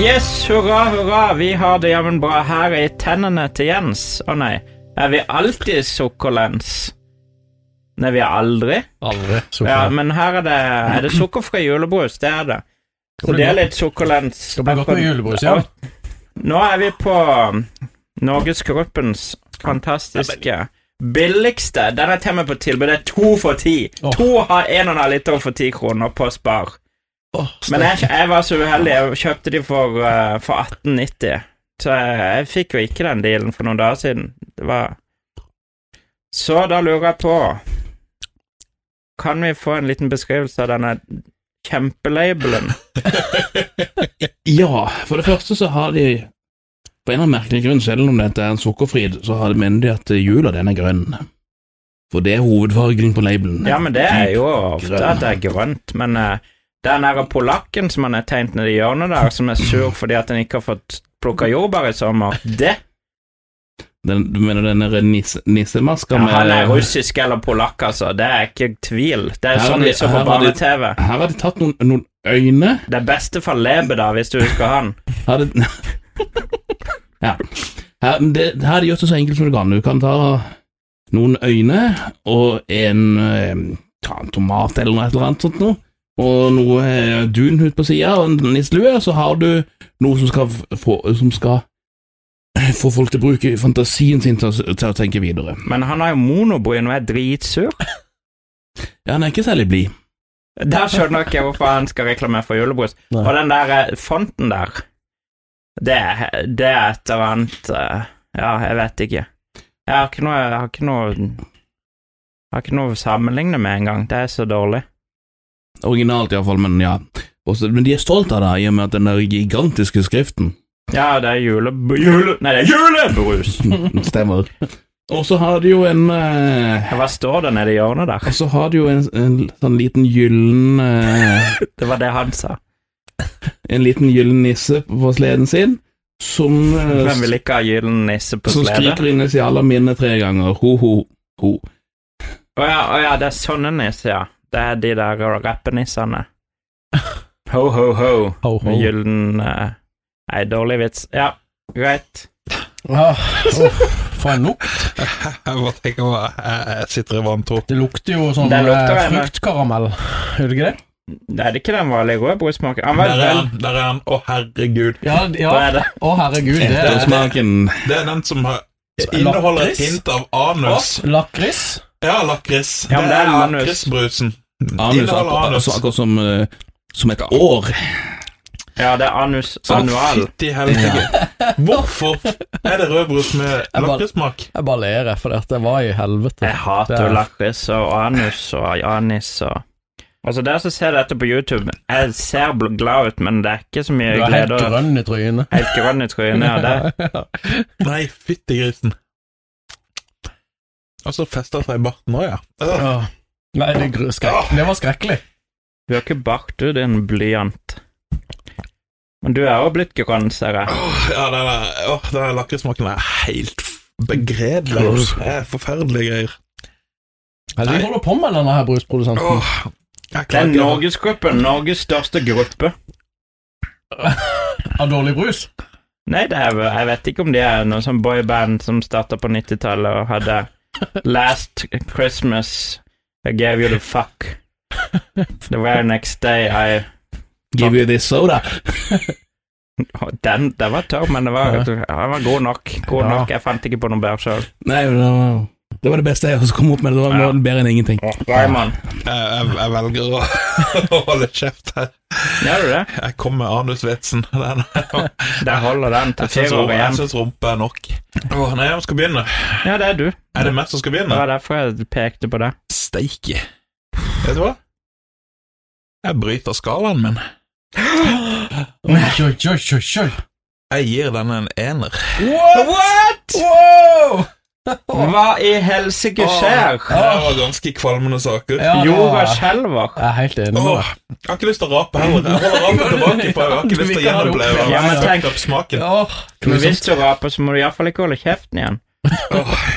Yes, hurra, hurra. Vi har det jammen bra her i tennene til Jens. Å nei, er vi alltid sukkerlens? Nei, vi er aldri. Aldri. Ja, men her er det Er det sukkerfri julebrus? Det er det. Så det er litt sukkerlens. Skal bli godt med julebrus igjen. Nå er vi på um, Norgesgruppens fantastiske billigste. Den er til og med på tilbud. Det er to for ti. Åh. To har en og en halv liter for ti kroner på Spar. Åh, Men jeg, jeg var så uheldig. Jeg kjøpte de for, eh, for 1890. Så jeg, jeg fikk jo ikke den dealen for noen dager siden. Det var Så da lurer jeg på Kan vi få en liten beskrivelse av denne kjempelabelen? Ja, for det første så har de På en eller annen merkelig grunn, selv om dette er en sukkerfrid, så har de mener de at jula den er grønn. For det er hovedfargen på labelen. Ja, men det er jo ofte at det er grønt, men eh, den der polakken som han er tegnet ned i hjørnet der, som er sur fordi at han ikke har fått plukka jordbær i sommer, det Den, du mener denne nisse, nissemaska ja, med Han er russisk eller polakk, altså. Det er ikke tvil. Det er Her sånn er vi det- så på her er det- barne-TV. Her har de tatt noen, noen øyne Det er bestefar Lebe, da, hvis du husker han. Her er det Ja. Her, men det, her er det gjort det så enkelt som du kan. Du kan ta noen øyne og en, eh, ta en tomat eller noe et eller annet sånt noe, og noe eh, dunhud på sida og en nisselue, og så har du noe som skal, f- få, som skal få folk til å bruke fantasien sin til, å- til å tenke videre. Men han har jo monobryn og er dritsur. Ja, han er ikke særlig blid. Der skjønner jeg ikke hvorfor han skal reklamere for julebrus. Nei. Og den der eh, fonten der, det, er- det er et eller annet eh, Ja, jeg vet ikke. Jeg har ikke noe Jeg har ikke noe, jeg har ikke noe å sammenligne med engang. Det er så dårlig. Originalt iallfall, men ja. Også, men de er stolt av det, i og med at den der gigantiske skriften Ja, det er jule... jule nei, det er julebrus! stemmer. Og så har de jo en eh, Hva står det nede i hjørnet der? Og så har du jo en, en sånn liten gyllen eh, Det var det han sa. En liten gyllen nisse på sleden sin, som, eh, Hvem vil ikke ha gyllen nisse på som slede? skriker initialene mine tre ganger. Ho, ho, ho. Å ja, å ja, det er sånne nisser, ja. Det er de der rappenissene. Ho, ho, ho. Ho, ho. Med gyllen eh, Nei, dårlig vits. Ja, greit. Ah, åh, for en lukt. Jeg bare tenker meg, jeg, jeg sitter i vantro. Det lukter jo sånn Det lukter eh, en- fruktkaramell. Gjør det ikke det? Det er det ikke den vanlige rødbrussmaken. Han Der var er vel han, der er han. Å, herregud. Ja, ja. Hva er det? Å, herregud. Det Den er smaken Det er den som har, inneholder et Lakris? hint av anus. lakris. Ja, lakris. Ja, men det det er er anus. lakrisbrusen. anus, Inneholder akkurat, anus. altså, akkurat som, eh, som et år. Ja, det er anus Sånn anual. fytti helsike. Hvorfor er det rødbrus med bare- lakrissmak? Jeg bare ler, jeg, for det var i helvete. Jeg hater Det er- lakris og anus og anis og Altså, dere som ser dette på YouTube, jeg ser bl- glad ut, men det er ikke så mye Du er helt glede. og- grønn i trynet. Helt grønn i trynet. Ja, det. Nei, fytti grisen. Og så fester seg barten òg, ja. Øh, Ja. Nei, det, er gru- skrek. det var skrekkelig. Du har ikke bakt ut en blyant. Men du er jo blitt grønn, ser jeg. Ja, den der, åh, den der lakrissmaken er helt f- begredelig. Det er forferdelige greier. Hva Nei. holder du på med, denne her brusprodusenten? Åh, jeg Mhm. Det er klarer ikke det. Norgesgruppen. Norges største gruppe. Av dårlig brus? Nei, det er, vel- jeg vet ikke om de er noe sånn boyband som starta på 90-tallet og hadde Last Christmas I gave you the fuck. The very next day I Give you this soda. Å, Den, den var tørr, men det var, Ja. den var god nok. God Ja. nok. Jeg fant ikke på noe bedre sjøl. Nei, men det var, det var det beste jeg også kom opp med. Det var, det var bedre enn ingenting. Raymond, Jeg, jeg, jeg velger å, å holde kjeft her. gjør du det? Jeg kom med anusvitsen. Den, Der holder den til jeg syns fire år rom- jeg igjen. syns rumpe er nok. Åh, nei, hvem skal begynne? Ja, det er du. Er det meg som skal Det begynne? var derfor jeg pekte på det. Steike. Vet du hva? Jeg bryter skalaen min. Oi, oi, oi, oi, oi. Jeg gir den en ener. What? Wow! Hva i helsike skjer? Åh, Det var ganske kvalmende saker. Ja, det var- Jorda skjelver. Jeg er helt enig med deg. Åh, jeg har ikke lyst til å rape heller. Jeg holder rapen tilbake, for jeg har ikke lyst til å gjenoppleve Ja, men tenk- fucked up smaken. Åh, Men hvis du raper, så må du iallfall ikke holde kjeften igjen.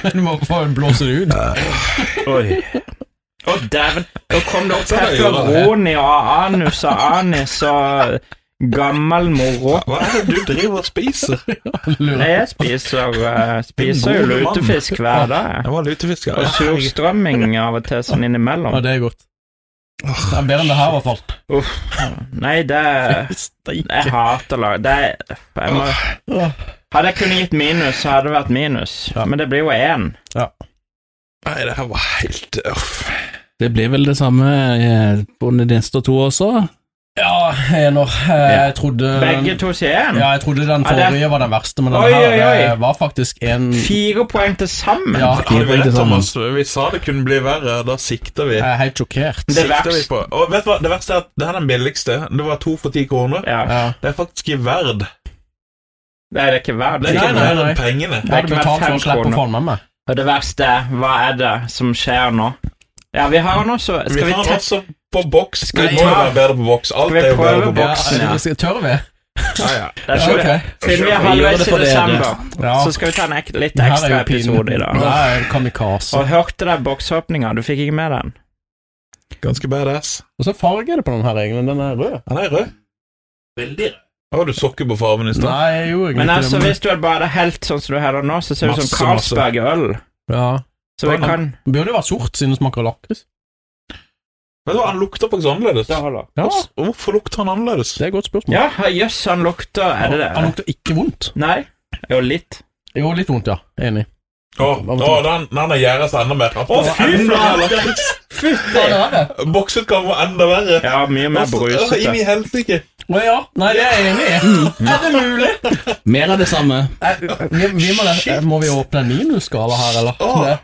Du må få en blåse det ut. Oi. Å, dæven. Da kom det opp Sånn er det jo, da. pepperoni og anus og anis og Gammel moro. Hva er det du driver og spiser? Lurer. Jeg spiser, eh, spiser jo En god mann. lutefisk hver dag. Jeg var lutefisk. Og surstrømming av og til sånn Ja, innimellom. det er godt. Det er bedre enn det her, i hvert fall. Nei, det Steike. Jeg hater lag... Det er jeg må, Hadde jeg kunnet gitt minus, så hadde det vært minus. Ja. Men det blir jo én. Nei, det her var helt uff. Det blir vel det samme eh, på de neste to også. Ja, ener. Eh, Jeg trodde Begge to sier én. Ja, jeg trodde den Ja, det- forrige var den verste, men den Oi, her oi, oi. eh, var faktisk en Fire poeng til sammen. Ja, Ja, det Fire var poeng rett, til sånn, sammen. Thomas. Vi sa det kunne bli verre, da sikter vi. jeg er helt sjokkert. Det er Sikter vi verst. på. Og vet du hva, det verste er at det her er den billigste. Det var to for ti kroner. Ja. Ja. Det er faktisk i verd. Nei, det er ikke verdt Det er det. ikke nei, mer nei. enn pengene. Jeg hadde ikke vært betalt for fem å slippe å kroner. få den med meg. Og det verste er, hva er det som skjer nå? Ja, vi har den også. Vi Skal vi, tar den te også på boks. Skal vi Vi må jo ta- være bedre på boks. Skal Alt vi er jo bedre prøve på boks. boksen, ja. Ja, skal- Tør vi? Ja, ja. det Ja, skal vi ok. Siden vi er Vi gjør halvveis det i for dere. desember, Ja. så skal vi ta en ek litt Den her er ekstra jo pin. episode i dag. Det er kamikaze. Og hørte deg boksåpninga? Du fikk ikke med den? Ganske badass. Og så farge er det på den her, egentlig. Den er rød. Han er rød. Veldig Å, du så ikke på fargen i stad. Nei, jeg gjorde egentlig Men altså, det, men- hvis du hadde bare helt sånn som du har det nå, så ser det ut som Masse, masse. Carlsberg-øl. Ja. Så vi kan Den Burde jo vært sort, siden det smaker lakris. Vet du hva, han lukter faktisk annerledes. Det holder. Ja, Hvorfor- Hvorfor lukter han annerledes? det er et godt spørsmål. Ja, jøss, han lukter Er det Han det? lukter ikke vondt. Nei? Jo, litt. Jo, litt vondt, ja. Enig. Å, å, den, den har gjæret seg enda mer. Å, fy faen! Fytti! Boksutgaven var enda verre. Ja, mye mer Hvorfor- å, inn brusete. i helsike. Å ja. Nei, det er jeg enig i. Er det mulig? Mer av det samme. Vi, vi må, den- må vi åpne en minusskala her, eller? Åh. Det-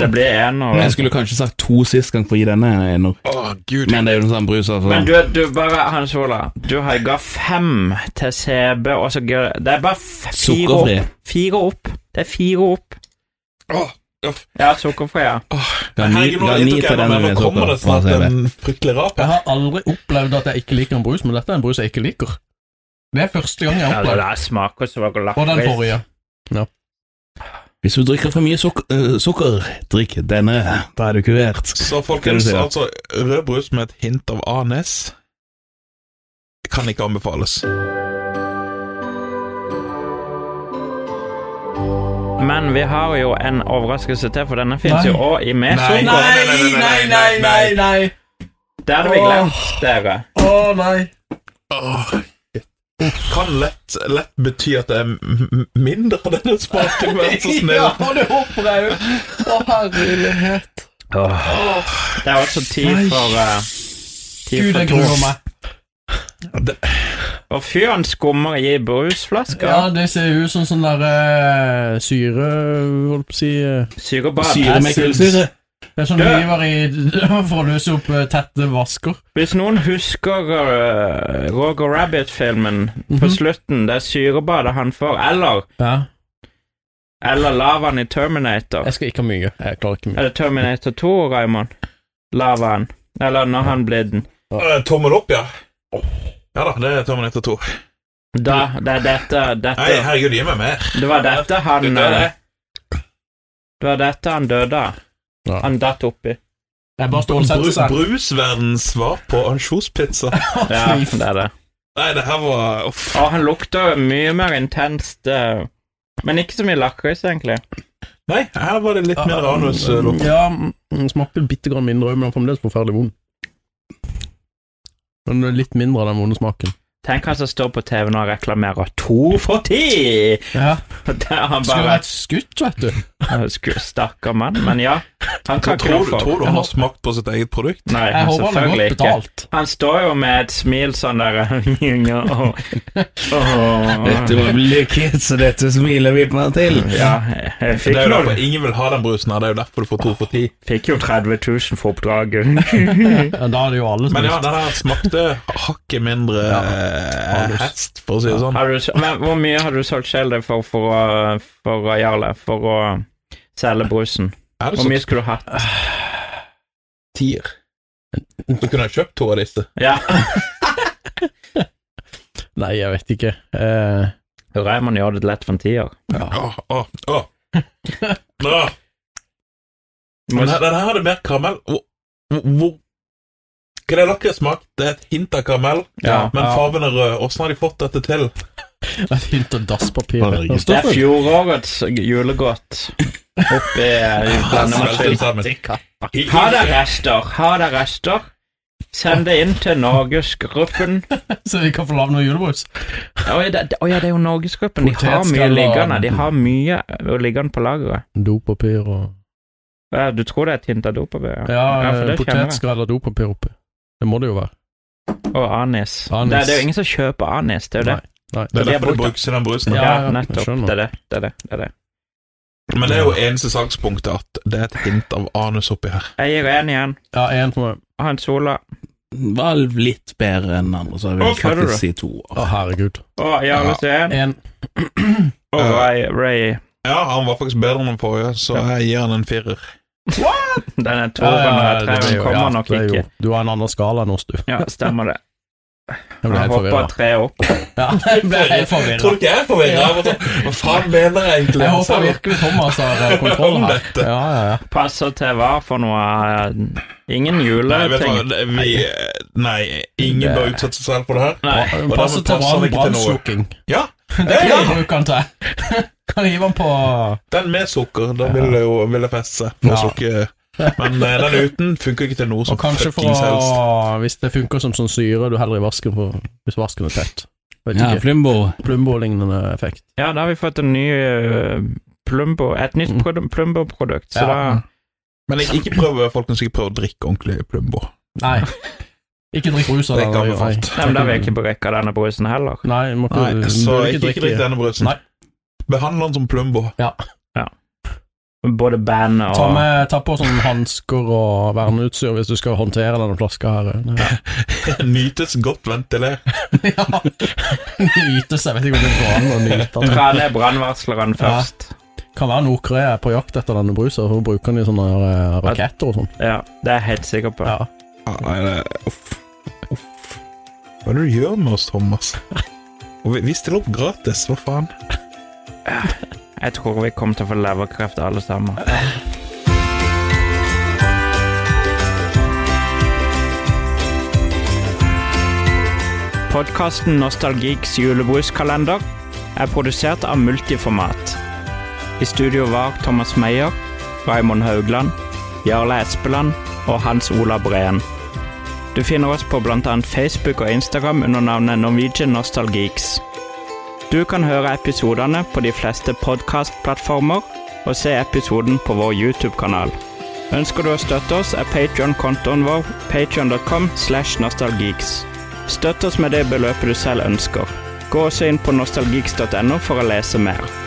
Det blir ener. Jeg skulle kanskje sagt to sist gang for å gi denne en ener. Å, gud. Men det er jo den samme brusen. altså. Men du, du bare, Hans Ola, du har ga fem til CB, og så gø- Det er bare f- fire Sukkerfri. opp. Fire opp. Det er fire opp. Å, Ja, sukkerfri, ja. Ga ni, Herregud, nå ga er det ni ikke til noe den mer. med Nå kommer sukker. det snart fra CV. en fryktelig rap Jeg her. har aldri opplevd at jeg ikke liker en brus, men dette er en brus jeg ikke liker. Det er første gang jeg har ja det opplevd. der smaker så var Og den forrige. Hvis du drikker for mye suk øh, sukker, drikk denne. Da er du kurert. Så Skal du folkens, si det? altså rød brus med et hint av anes kan ikke anbefales. Men vi har jo en overraskelse til, for denne fins Nei. jo òg i Nei. Meso. nei. Det hadde vi glemt, dere. Å nei. Åh, kan lett, lett bety at det er m- m- mindre av denne smaken, vær så snill. Ja, det håper jeg jo. Å herlighet. Det er også tid Nei. for uh, Tid for Gud, jeg to. gruer meg. Og fyren skummer i brusflaska. Ja, det ser jo ut som sånn der eh, syre Holdt på å si eh, Syrebad. Syre med Acids. kullsyre. Det er sånn Du- river i for å løse opp eh, tette vasker. Hvis noen husker eh, Roger Rabbit-filmen på Mhm. slutten, det er syrebadet han får, eller, Ja. eller lavaen i Terminator Jeg skal ikke ha mye. Jeg klarer ikke mye. Er det Terminator 2, Raymond? Lavaen. Eller når han blir den. Eh, Tommel opp, ja. Ja da, det er tommel etter to. Da, det er dette, Nei, dette herregud, gi meg mer. Det var dette han Det er eh, det. Det var dette han døde av. Ja. Han datt oppi. Jeg bare Bru, stålsetter seg. brusverdens svar på ansjospizza. Ja, det er det. Nei, det her var uff. Og han lukter mye mer intenst eh, Men ikke så mye lakris, egentlig. Nei, her var det litt mer eh, anuslukt. Ja, den smakte bitte grann mindre òg, men den er fremdeles forferdelig vond. Men det er litt mindre av den vonde smaken. Tenk hva som står på TV når jeg reklamerer to for ti! Ja. Der han Skulle bare vært skutt, vet du. Sku- Stakkar mann. Men ja, han kan ikke Tror, noe du- for. tror du han har smakt på sitt eget produkt? Nei, Jeg håper han er selvfølgelig godt ikke. betalt. Han står jo med et smil sånn der Åh, åh. Dette var lykket, så dette smiler vi meg til. Ah. Ja, jeg- jeg Det er fikk, jo noe, derfor ingen vil ha den brusen her. Det er jo derfor du får to for ti. fikk jo 30 000 for oppdraget. Ja, Da er det jo alle som Men ja, den her smakte hakket mindre eh, hest, for å si det sånn. Har du, men, hvor mye har du solgt selv deg for, for, å- for å, Jarle, for å selge brusen? Er det Hvor så mye skulle du hatt? tier? Du kunne ha kjøpt to av disse. Ja, Nei, jeg vet ikke. Eh, Raymond gjør det lett for en tier. Åh, åh, åh. Åh. Du må- Men her- den her hadde mer karamell. Hvor, hvor Hva er det dere har smakt? Det er et hint av karamell, Ja. men Ja. fargen er rød. Åssen har de fått dette til? Et hint av dasspapir. Bare register. Det er fjorårets julegodt oppi eh, i blandemaskin. Har dere rester? Har dere rester? Send det inn til Norgesgruppen. Så vi kan få lagd noe julebrus. Å ja, det, å ja, det er jo Norgesgruppen. De har mye Potetskall og- liggende. De har mye eh, å liggende på lageret. Dopapir og Ja, Du tror det er et hint av dopapir? ja. Ja, for det kjenner jeg. potetskall og dopapir oppi. Det må det jo være. Og anis. Anis. Det, det er jo ingen som kjøper anis, det er jo det. Nei. Det er De har derfor det brukt- brukes i den brusen. Ja, Ja, ja, jeg nettopp. skjønner. Det er det. det, er det, det, er det. Men det er jo eneste sakspunktet at det er et hint av anus oppi her. Jeg gir én igjen. Ja, én for meg. Han Sola. Var litt bedre enn andre, så jeg vil Å, kødder du? faktisk si to. Å, herregud. Og Jarle Ja. Steen. Én. Og Ray, Ray. Ja, han var faktisk bedre enn den forrige, så jeg gir han en firer. Denne toeren her det er treeren jo- kommer ja, nok det er jo- ikke. Du har en annen skala enn oss, du. Ja, stemmer det. Jeg ble Han helt hopper forvirra. treet opp. Ja, jeg ble helt Tror forvirra. du ikke jeg er forvirra? Hva faen mener jeg egentlig? Jeg håper virkelig Thomas har eh, kontroll Om her. dette. Ja, ja, ja. Passer til hva for noe eh, Ingen Nei, vet du juleting. hva, det- vi, nei, ingen bør utsette seg selv for det her. Nei. Og Passe dermed til passer han brann- ikke til noe. brannslukking. Ja, Det kan Ja. jeg bruke den til. Kan jeg hive den på den med sukker, da vil det jo vil det feste seg. For Ja. sukker. Men eh, den uten funker ikke til noe Og som kanskje for fuckings helst. å Hvis det funker som sånn syre du heller i vasken på, hvis vasken er tett. Vet Ja, ikke. Flimbo. Plumbo-lignende effekt. Ja, da har vi fått en ny eh, Plumbo, et nytt Mm. produ- Plumbo-produkt. Så Ja. da Men ikke- ikke prøv, folkens, ikke prøv å drikke ordentlig Plumbo. Nei. Ikke drikk brus av Det den. er ikke anbefalt. Nei, men da vil jeg ikke bruke denne brusen heller. Nei, må ikke, Nei, så bør ikke, ikke drikk denne brusen. Nei. Behandle den som Plumbo. Både band og Ta, med, ta på sånn hansker og verneutstyr hvis du skal håndtere denne flaska her. Nytes godt ventilert. Ja. Nyte seg, vet ikke om det går an å nyte den. Dra ned brannvarsleren først. Kan være Nord-Korea er på jakt etter denne brusen, for hun bruker den i sånne eh, raketter og sånn. Ja, det er jeg helt sikker på. Ja. Ja, Ah, nei, det, uff, uff. Hva er det du gjør med oss, Thomas? Og vi, vi stiller opp gratis, hva faen? Jeg tror vi kommer til å få leverkreft alle sammen. Podkasten Nostalgiks julebruskalender er produsert av Multiformat. I studio var Thomas Meyer, Raymond Haugland, Jarle Espeland og Hans Ola Breen. Du finner oss på bl.a. Facebook og Instagram under navnet Norwegian Nostalgeeks. Du kan høre episodene på de fleste podkastplattformer og se episoden på vår YouTube-kanal. Ønsker du å støtte oss, er Patreon-kontoen vår patreon.com slash nostalgeeks. Støtt oss med det beløpet du selv ønsker. Gå også inn på nostalgeeks.no for å lese mer.